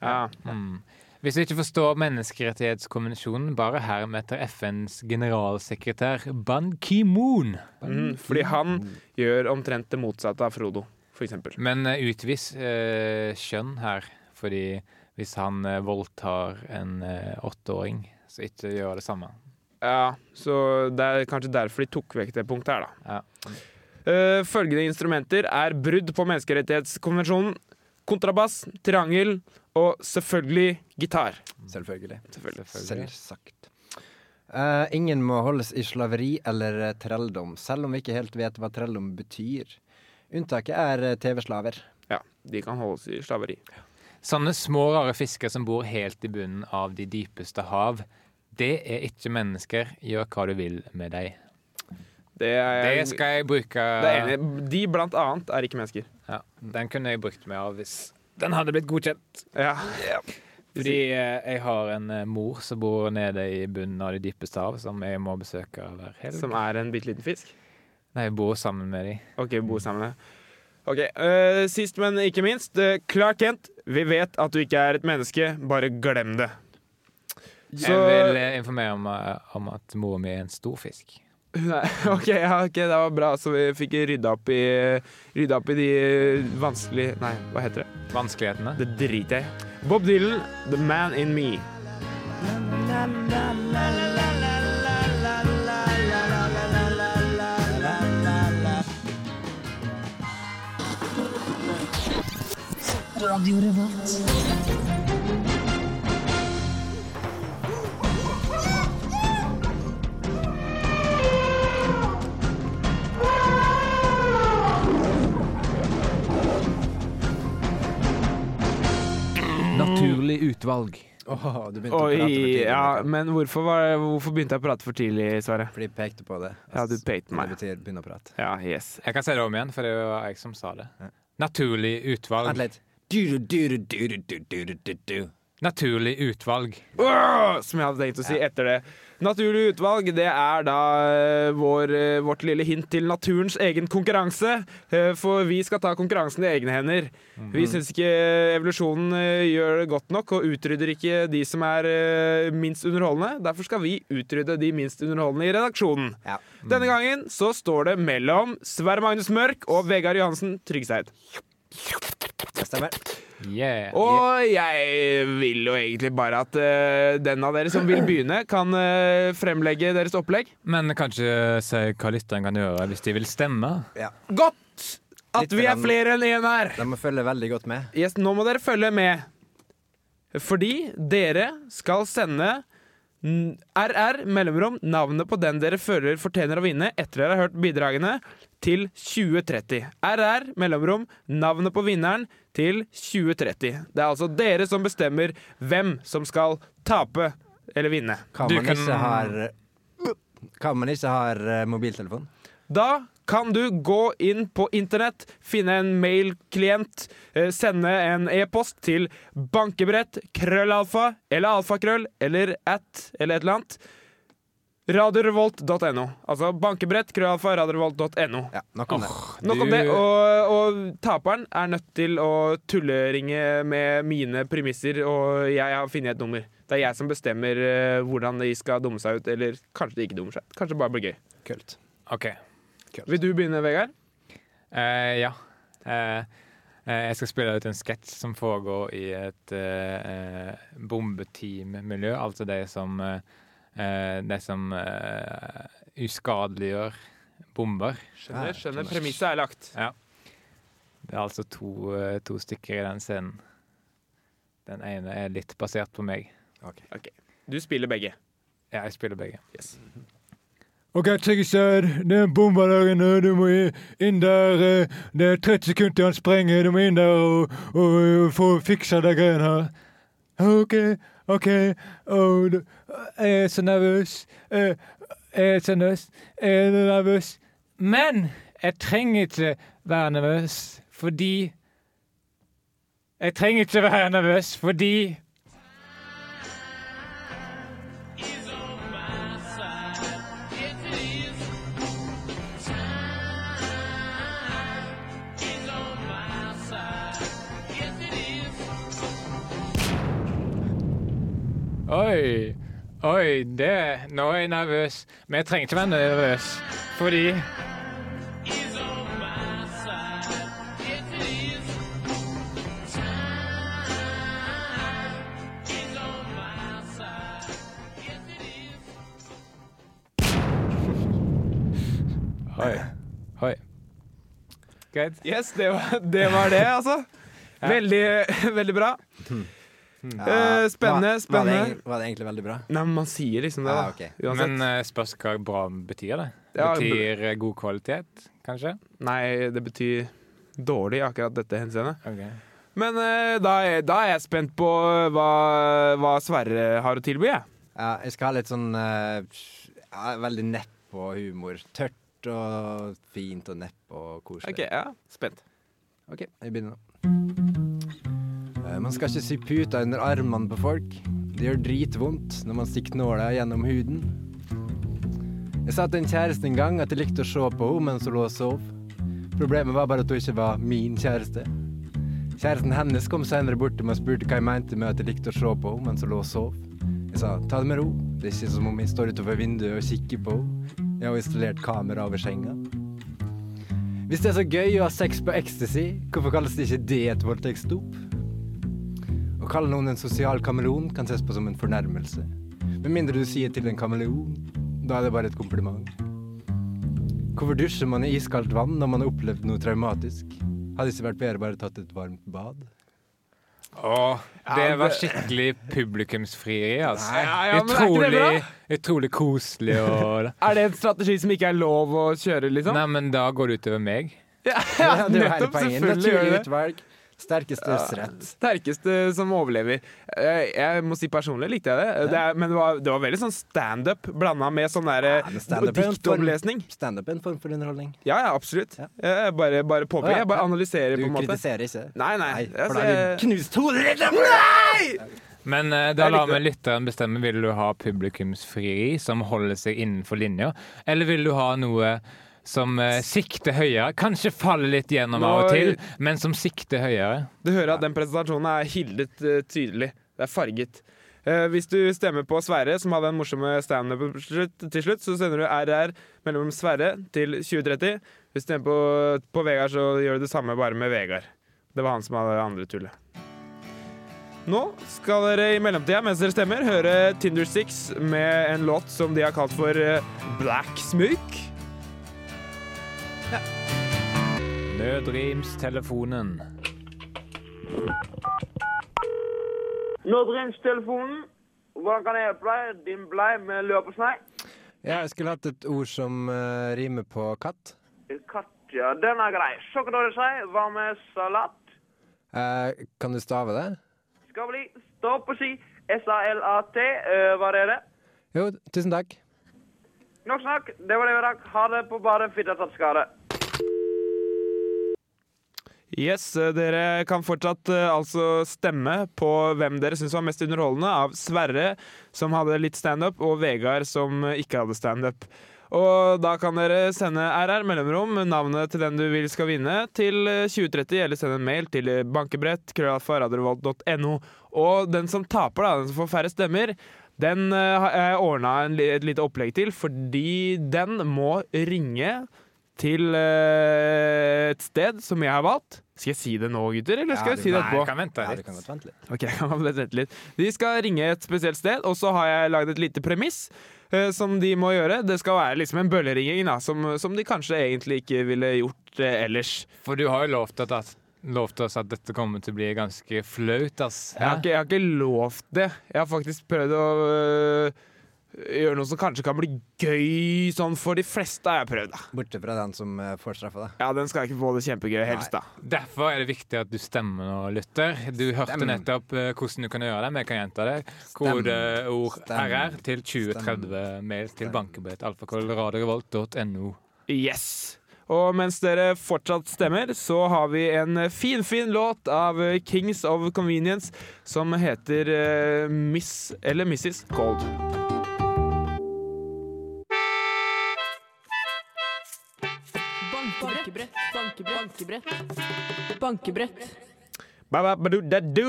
[SPEAKER 3] Ja.
[SPEAKER 2] Mm. Hvis du ikke forstår menneskerettighetskonvensjonen, bare herm etter FNs generalsekretær Ban Ki-moon.
[SPEAKER 3] Mm, fordi han gjør omtrent det motsatte av Frodo, for eksempel.
[SPEAKER 2] Men eh, utvis eh, kjønn her, fordi hvis han eh, voldtar en eh, åtteåring, så ikke gjør det samme.
[SPEAKER 3] Ja, så det er kanskje derfor de tok vekk det punktet her, da.
[SPEAKER 2] Ja.
[SPEAKER 3] Eh, følgende instrumenter er brudd på menneskerettighetskonvensjonen, kontrabass, triangel og selvfølgelig gitar.
[SPEAKER 6] Selvfølgelig.
[SPEAKER 3] Selvfølgelig.
[SPEAKER 2] Selvfølgelig.
[SPEAKER 6] Selvsagt. Eh, ingen må holdes i slaveri eller eh, trelldom, selv om vi ikke helt vet hva trelldom betyr. Unntaket er eh, TV-slaver.
[SPEAKER 3] Ja, de kan holdes i slaveri.
[SPEAKER 2] Sånne små, rare fisker som bor helt i bunnen av de dypeste hav, det er ikke mennesker. Gjør hva du vil med dem.
[SPEAKER 3] Det er,
[SPEAKER 2] Det skal jeg bruke
[SPEAKER 3] Eh, det er enig. De blant annet er ikke mennesker.
[SPEAKER 2] ja, Den kunne jeg brukt meg av hvis den hadde blitt godkjent.
[SPEAKER 3] Ja.
[SPEAKER 2] Fordi eh, jeg har en eh, mor som bor nede i bunnen av de dypeste hav, som jeg må besøke hver helg.
[SPEAKER 3] Som er en bitte liten fisk.
[SPEAKER 2] Nei, jeg bor sammen med dem.
[SPEAKER 3] OK, bo sammen. Ok, eh, Sist, men ikke minst. eh, Clark Kent, vi vet at du ikke er et menneske. Bare glem det. Så-
[SPEAKER 2] Jeg vil eh, informere om, eh, om at mora mi er en stor fisk.
[SPEAKER 3] Nei, ok, ja, ok, det var bra. Så vi fikk rydda opp i, rydda opp i de vanskelige Nei, hva heter det?
[SPEAKER 2] Vanskelighetene.
[SPEAKER 3] Det driter jeg i. Bob Dylan, 'The Man In Me'.
[SPEAKER 9] Naturlig utvalg.
[SPEAKER 6] Åh, du begynte å prate for
[SPEAKER 3] Oi,
[SPEAKER 6] tidlig.
[SPEAKER 3] ja, men hvorfor, var, hvorfor begynte jeg å prate for tidlig, Sverre?
[SPEAKER 6] Fordi jeg pekte på det. Altså,
[SPEAKER 3] Ja, du pekte på meg.
[SPEAKER 6] Det betyr begynne å prate.
[SPEAKER 3] Ja, yes.
[SPEAKER 2] Jeg kan si det om igjen, for det var jeg som sa det. Naturlig utvalg.
[SPEAKER 6] Vent litt.
[SPEAKER 2] Naturlig utvalg.
[SPEAKER 3] Åh, som jeg hadde tenkt å si etter det. Naturlig utvalg, det er da eh, vår, eh, vårt lille hint til naturens egen konkurranse. eh, For vi skal ta konkurransen i egne hender. Vi syns ikke evolusjonen eh, gjør det godt nok og utrydder ikke de som er eh, minst underholdende. Derfor skal vi utrydde de minst underholdende i redaksjonen.
[SPEAKER 6] Ja.
[SPEAKER 3] Denne gangen så står det mellom Sverre Magnus Mørk og Vegard Johansen Tryggseid.
[SPEAKER 6] Det stemmer.
[SPEAKER 2] Yeah.
[SPEAKER 3] Og jeg vil jo egentlig bare at eh, den av dere som vil begynne, kan eh, fremlegge deres opplegg.
[SPEAKER 2] Men kanskje si hva lytteren kan gjøre hvis de vil stemme.
[SPEAKER 6] Ja.
[SPEAKER 3] Godt at
[SPEAKER 6] Litt
[SPEAKER 3] vi er
[SPEAKER 6] grann.
[SPEAKER 3] flere enn én her!
[SPEAKER 6] De må følge veldig godt med.
[SPEAKER 3] Yes, nå må dere følge med. Fordi dere skal sende n- RR mellomrom navnet på den dere føler fortjener å vinne etter dere har hørt bidragene, til 2030. RR mellomrom navnet på vinneren til 2030. Det er altså dere som bestemmer hvem som skal tape eller vinne.
[SPEAKER 6] Hva om
[SPEAKER 2] Du
[SPEAKER 6] man
[SPEAKER 2] kan-
[SPEAKER 6] ikke har eh, Hva om man ikke har eh, mobiltelefon?
[SPEAKER 3] Da kan du gå inn på internett, finne en mailklient, eh, sende en e-post til bankebrett, krøllalfa eller alfakrøll eller at eller et eller annet. Radiorevolt.no. Altså bankebrett, krøllalfa, radiorevolt.no.
[SPEAKER 6] Ja, nok om
[SPEAKER 3] Nok
[SPEAKER 2] Du-
[SPEAKER 3] om det. Og, og taperen er nødt til å tulleringe med mine premisser, og jeg har funnet et nummer. Det er jeg som bestemmer eh, hvordan de skal dumme seg ut, eller kanskje de ikke dummer seg ut. Kanskje det bare blir gøy.
[SPEAKER 6] det. Kult.
[SPEAKER 2] OK.
[SPEAKER 3] Vil du begynne, Vegard?
[SPEAKER 2] Eh, ja. Eh, eh, jeg skal spille ut en sketsj som foregår i et eh, eh, bombeteammiljø. Altså de som, eh, eh, de som eh, uskadeliggjør bomber.
[SPEAKER 3] Skjønner,
[SPEAKER 6] Ja,
[SPEAKER 3] skjønner. Premisset er lagt.
[SPEAKER 2] Det er altså to, eh, to stykker i den scenen. Den ene er litt basert på meg.
[SPEAKER 3] Du spiller begge.
[SPEAKER 2] Ja, jeg spiller begge.
[SPEAKER 3] Yes.
[SPEAKER 9] OK, Tryggeseid. Det er bomba der inne. Du må i- inn der. eh, Det er 30 sekunder til han sprenger. Du må inn der og, og, eh, få fiksa de greiene her. OK, OK. Å, du- jeg er så nervøs. Eh, Jeg er så nervøs. Jeg er nervøs.
[SPEAKER 2] Men jeg trenger ikke være nervøs fordi Jeg trenger ikke være nervøs fordi Oi. Oi, det Nå er jeg nervøs. Men jeg trenger ikke være nervøs, fordi Oi. Oi. Greit.
[SPEAKER 3] Yes, det var det, var det altså. Veldig, veldig bra. Eh, spennende,
[SPEAKER 4] Var, var, det,
[SPEAKER 3] spennende.
[SPEAKER 4] egentlig- var det egentlig veldig bra?
[SPEAKER 3] Nei, men man sier liksom det, da.
[SPEAKER 4] Ah, ok.
[SPEAKER 3] Uansett.
[SPEAKER 2] Men eh, spørs hva bra betyr, det.
[SPEAKER 3] Ja,
[SPEAKER 2] Betyr eh, god kvalitet, kanskje?
[SPEAKER 3] Nei, det betyr dårlig i akkurat dette henseendet.
[SPEAKER 2] Okay.
[SPEAKER 3] Men eh, da, er, da er jeg spent på eh, hva, hva Sverre har å tilby, jeg.
[SPEAKER 4] Ja, jeg skal ha litt sånn eh, ja, Veldig nepp og humor. Tørt og fint og nepp og koselig.
[SPEAKER 3] Ok, ja, spent.
[SPEAKER 4] Ok, jeg begynner nå. Eh, Man skal ikke sy puta under armene på folk. Det gjør dritvondt når man stikker nåla gjennom huden. Jeg sa til en kjæreste en gang at jeg likte å se på henne mens hun lå og sov. Problemet var bare at hun ikke var min kjæreste. Kjæresten hennes kom senere bort til meg og spurte hva jeg mente med at jeg likte å se på henne mens hun lå og sov. Jeg sa ta det med ro, det er ikke som om jeg står utenfor vinduet og kikker på henne. Jeg har installert kamera over senga. Hvis det er så gøy å ha sex på ecstasy, hvorfor kalles det ikke det et voldtektsdop? Å kalle noen en sosial kameleon kan ses på som en fornærmelse. Med mindre du sier til en kameleon, da er det bare et kompliment. Hvorfor dusjer man i iskaldt vann når man har opplevd noe traumatisk? Hadde ikke vært bedre bare tatt et varmt bad?
[SPEAKER 2] Åh, det
[SPEAKER 3] Ja, det-
[SPEAKER 2] var skikkelig publikumsfrieri, altså.
[SPEAKER 3] Ja, ja, men er ikke det
[SPEAKER 2] utrolig, utrolig koselig og
[SPEAKER 3] Er det en strategi som ikke er lov å kjøre, liksom?
[SPEAKER 2] Nei, men da går det utover meg.
[SPEAKER 3] Ja,
[SPEAKER 4] Ja, det er jo hele
[SPEAKER 3] nettopp,
[SPEAKER 4] poenget.
[SPEAKER 3] selvfølgelig gjør
[SPEAKER 4] Naturlig
[SPEAKER 3] det.
[SPEAKER 4] utvalg. Sterkeste røsterett.
[SPEAKER 3] Sterkeste som overlever. Eh, Jeg må si personlig likte jeg det. det er, men det var, det var veldig sånn standup blanda med sånn der eh, diktomlesning.
[SPEAKER 4] Standup er en form for underholdning.
[SPEAKER 3] Ja, ja, absolutt.
[SPEAKER 4] Ja.
[SPEAKER 3] Jeg bare bare
[SPEAKER 4] Å,
[SPEAKER 3] påpeker.
[SPEAKER 4] ja.
[SPEAKER 3] Jeg bare analyserer,
[SPEAKER 4] Du
[SPEAKER 3] på en måte.
[SPEAKER 4] kritiserer ikke?
[SPEAKER 3] Nei, nei.
[SPEAKER 4] Nei, for
[SPEAKER 3] altså,
[SPEAKER 4] da har du
[SPEAKER 3] jeg-
[SPEAKER 4] knust hodet ditt!
[SPEAKER 2] Men eh, da
[SPEAKER 3] Jeg
[SPEAKER 2] lar
[SPEAKER 3] likte
[SPEAKER 2] vi lytteren bestemme. Vil du ha publikumsfrieri som holder seg innenfor linja, eller vil du ha noe som eh, sikter høyere? Kanskje faller litt gjennom av og til,
[SPEAKER 3] Nei.
[SPEAKER 2] men som sikter høyere.
[SPEAKER 3] Du hører at den presentasjonen er hildet eh, tydelig. Det er farget. Eh, hvis du stemmer på Sverre, som hadde den morsomme standupen på slutt- til slutt, så sender du RR mellom Sverre til 2030. Hvis du stemmer på, på Vegard, så gjør du det samme bare med Vegard. Det var han som hadde det andre tullet. Nå skal dere i mellomtida, mens dere stemmer, høre Tinder Six med en låt som de har kalt for eh, Black Smook.
[SPEAKER 2] Nødrimstelefonen.
[SPEAKER 5] Nødringstelefonen. Hvordan kan jeg hjelpe deg? Din blei med løpesnei.
[SPEAKER 4] Ja, jeg skulle hatt et ord som eh, rimer på katt.
[SPEAKER 5] Katja, den er grei. Så kan dere si hva med salat?
[SPEAKER 4] Eh, kan du stave det?
[SPEAKER 5] Skal bli stå på ski. S-A-L-A-T. eh, Hva er det?
[SPEAKER 4] Jo, tusen takk.
[SPEAKER 5] Nok snakk. Det var det vi rakk. Ha det på badet. Fitta tatt skade.
[SPEAKER 3] Yes, eh, dere kan fortsatt eh, altså stemme på hvem dere syns var mest underholdende, av Sverre, som hadde litt standup, og Vegard, som eh, ikke hadde standup. Og da kan dere sende RR mellomrom, navnet til den du vil skal vinne, til eh, 2030, eller sende en mail til eh, bankebrett, krøllalfa.radiorevolt.no. Og den som taper, da, den som får færre stemmer, den eh, har jeg ordna et lite opplegg til, fordi den må ringe til eh, et sted som jeg har valgt. Skal jeg si det nå, gutter, eller skal
[SPEAKER 4] Ja,
[SPEAKER 3] jeg
[SPEAKER 4] du-
[SPEAKER 3] si det
[SPEAKER 2] Nei,
[SPEAKER 3] etterpå?
[SPEAKER 2] kan vente
[SPEAKER 4] Ja, du
[SPEAKER 2] litt.
[SPEAKER 4] kan godt vente litt.
[SPEAKER 3] Ok, jeg kan bare vente litt. De skal ringe et spesielt sted, og så har jeg lagd et lite premiss. eh, Som de må gjøre. Det skal være liksom en bølleringing da, som, som de kanskje egentlig ikke ville gjort eh, ellers.
[SPEAKER 2] For du har jo lovt, at, at, lovt oss at dette kommer til å bli ganske flaut, ass.
[SPEAKER 3] Jeg har, ikke, jeg har ikke lovt det. Jeg har faktisk prøvd å øh, gjøre noe som kanskje kan bli gøy sånn for de fleste, har jeg prøvd. da.
[SPEAKER 4] Borte fra den som eh, får straffa, da.
[SPEAKER 3] Ja, den skal jeg ikke få det kjempegøy helst, da.
[SPEAKER 2] Derfor er det viktig at du stemmer og lytter. Du hørte
[SPEAKER 4] Stem.
[SPEAKER 2] nettopp eh, hvordan du kan gjøre det, men jeg kan gjenta det.
[SPEAKER 4] Stem.
[SPEAKER 2] Kodeord
[SPEAKER 4] Stem.
[SPEAKER 2] RR til 2030 mail til
[SPEAKER 4] Stem.
[SPEAKER 2] bankebrett.alfakrøllradiorevolt.no.
[SPEAKER 3] Yes. Og mens dere fortsatt stemmer, så har vi en finfin fin låt av Kings of Convenience som heter øh, Miss eller Mrs. Cold.
[SPEAKER 1] Bankebrett. Bankebrett. Bankebrett. Bankebrett.
[SPEAKER 3] Ba-ba-ba-du-da-du.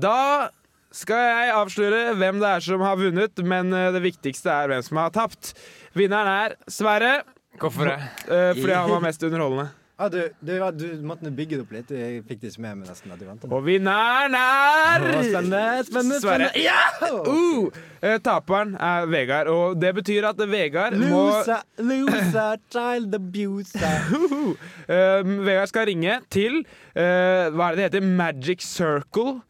[SPEAKER 3] Da skal jeg avsløre hvem det er som har vunnet, men eh, det viktigste er hvem som har tapt. Vinneren er Sverre,
[SPEAKER 2] Hvorfor det?
[SPEAKER 3] eh, fordi han var mest underholdende.
[SPEAKER 10] Ja, Ah, du, du, ja, du måtte bygge det opp litt. Jeg fikk det ikke med meg nesten. at du ventet.
[SPEAKER 3] Og vinneren er
[SPEAKER 10] Spennende, spennende,
[SPEAKER 3] Sverre.
[SPEAKER 10] spennende. Ja!
[SPEAKER 3] Uh, eh, taperen er Vegard, og det betyr at Vegard må
[SPEAKER 10] Loser, loser, child abuser.
[SPEAKER 3] Uhu. Eh, Vegard skal ringe til eh, Hva er det det heter? Magic Circle.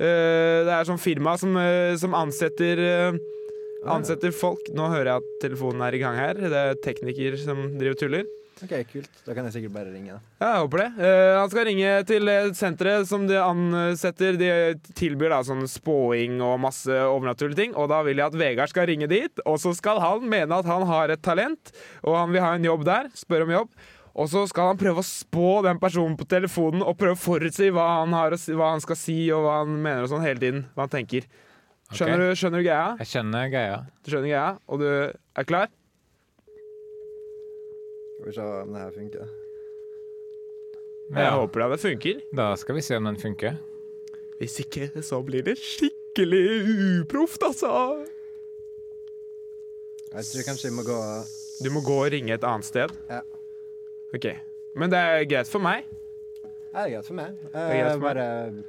[SPEAKER 3] Eh, det er sånn firma som, eh, som ansetter eh, Ansetter folk. Nå hører jeg at telefonen er i gang her. Det er tekniker som driver og tuller.
[SPEAKER 10] OK, kult. Da kan jeg sikkert bare ringe. da.
[SPEAKER 3] Ja, jeg håper det. Eh, han skal ringe til eh, senteret som de ansetter. De tilbyr da sånn spåing og masse overnaturlige ting. Og da vil jeg at Vegard skal ringe dit, og så skal han mene at han har et talent, og han vil ha en jobb der. Spør om jobb. Og så skal han prøve å spå den personen på telefonen og prøve å forutsi hva han, har å si, hva han skal si, og hva han mener og sånn hele tiden. Hva han tenker. Skjønner, du, skjønner du greia?
[SPEAKER 2] Jeg skjønner greia.
[SPEAKER 3] Du skjønner greia? Og du er klar?
[SPEAKER 10] Skal vi se om det her funker.
[SPEAKER 3] Jeg
[SPEAKER 2] Ja,
[SPEAKER 3] håper da det funker.
[SPEAKER 2] da skal vi se om den funker.
[SPEAKER 3] Hvis ikke, så blir det skikkelig uproft, altså.
[SPEAKER 10] Jeg tror kanskje jeg må gå
[SPEAKER 3] Du må gå og ringe et annet sted?
[SPEAKER 10] Ja.
[SPEAKER 3] Ok. Men det er greit for meg.
[SPEAKER 10] Ja, det er greit for meg.
[SPEAKER 3] er greit
[SPEAKER 10] Eh,
[SPEAKER 3] for meg.
[SPEAKER 10] bare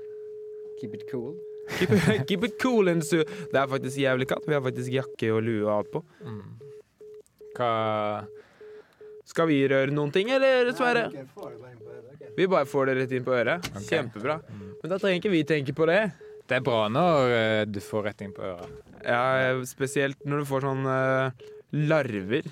[SPEAKER 10] keep it cool.
[SPEAKER 3] Keep, keep it cool in su... Det er faktisk jævlig kaldt. Vi har faktisk jakke og lue og alt på.
[SPEAKER 2] Hva
[SPEAKER 3] Skal vi røre noen ting, eller, Sverre?
[SPEAKER 10] Nei, ok, får det bare inn på øret, ok.
[SPEAKER 3] Vi bare får det rett inn på øret. Kjempebra. Men da trenger ikke vi tenke på det.
[SPEAKER 2] Det er bra når eh, du får rett inn på øret.
[SPEAKER 3] Ja, spesielt når du får sånn eh, larver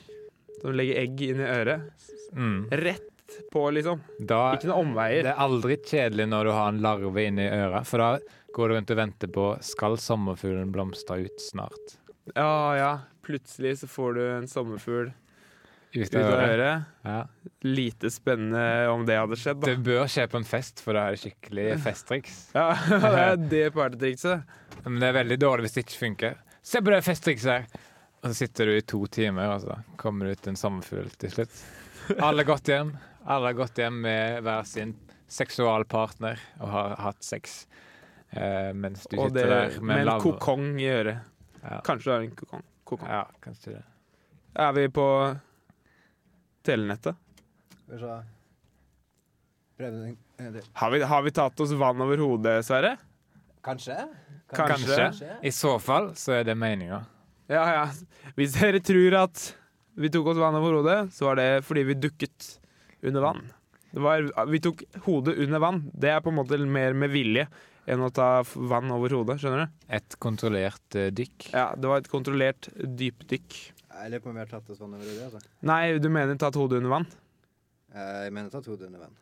[SPEAKER 3] som legger egg inn i øret.
[SPEAKER 2] Mm.
[SPEAKER 3] Rett på, liksom.
[SPEAKER 2] Da
[SPEAKER 3] Ikke noen omveier.
[SPEAKER 2] Det er aldri kjedelig når du har en larve inni øret, for da går du rundt og venter på skal sommerfuglen blomstre ut snart.
[SPEAKER 3] Ja, ja. Plutselig så får du en sommerfugl
[SPEAKER 2] Ut
[SPEAKER 3] ut
[SPEAKER 2] av
[SPEAKER 3] av
[SPEAKER 2] øret.
[SPEAKER 3] øret.
[SPEAKER 2] Ja.
[SPEAKER 3] Lite spennende om det hadde skjedd, da.
[SPEAKER 2] Det bør skje på en fest, for da er det skikkelig festtriks.
[SPEAKER 3] Ja, det er det partytrikset.
[SPEAKER 2] Men det er veldig dårlig hvis det ikke funker. Se på det festtrikset her! Og så sitter du i to timer, og så kommer det ut en sommerfugl til slutt. Alle har gått hjem. Alle har gått hjem med hver sin seksualpartner og har hatt sex. Eh, mens du
[SPEAKER 3] Og det,
[SPEAKER 2] sitter der med
[SPEAKER 3] med
[SPEAKER 2] en
[SPEAKER 3] en
[SPEAKER 2] larve.
[SPEAKER 3] kokong i øret.
[SPEAKER 2] Ja.
[SPEAKER 3] Kanskje du har en kokong. kokong.
[SPEAKER 2] Ja, kanskje det.
[SPEAKER 3] Er vi på telenettet?
[SPEAKER 10] Skal vi se. Prøv den en gang til.
[SPEAKER 3] Har vi, har vi tatt oss vann over hodet, Sverre?
[SPEAKER 10] Kanskje?
[SPEAKER 3] Kanskje.
[SPEAKER 2] I så fall så er det meninga.
[SPEAKER 3] Ja, ja. Hvis dere tror at vi tok oss vann over hodet, så var det fordi vi dukket under vann. Det var, vi tok hodet under vann. Det er på en måte mer med vilje enn å ta f- vann over hodet. skjønner du?
[SPEAKER 2] Et kontrollert eh, dykk.
[SPEAKER 3] Ja, Det var et kontrollert dypdykk.
[SPEAKER 10] Jeg lurer på om vi har tatt oss vann over hodet. Altså.
[SPEAKER 3] Nei, du mener tatt hodet under vann?
[SPEAKER 10] Eh, Jeg mener tatt hodet under vann.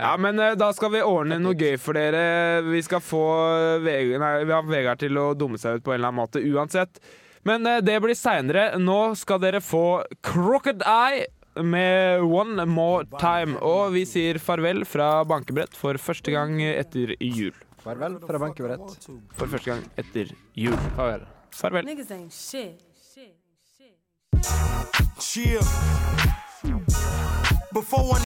[SPEAKER 3] Ja, men eh, da skal vi ordne noe gøy for dere. Vi skal få eh, Veg nei, vi har Vegard til å dumme seg ut på en eller annen måte uansett. Men eh, det blir seinere. Nå skal dere få Crooked Eye med One More Time. Og vi sier farvel fra bankebrett for første gang etter jul.
[SPEAKER 10] Farvel fra bankebrett.
[SPEAKER 3] For første gang etter jul. Farvel. Farvel.
[SPEAKER 11] Niggas ain't shit.
[SPEAKER 12] Chill. Before one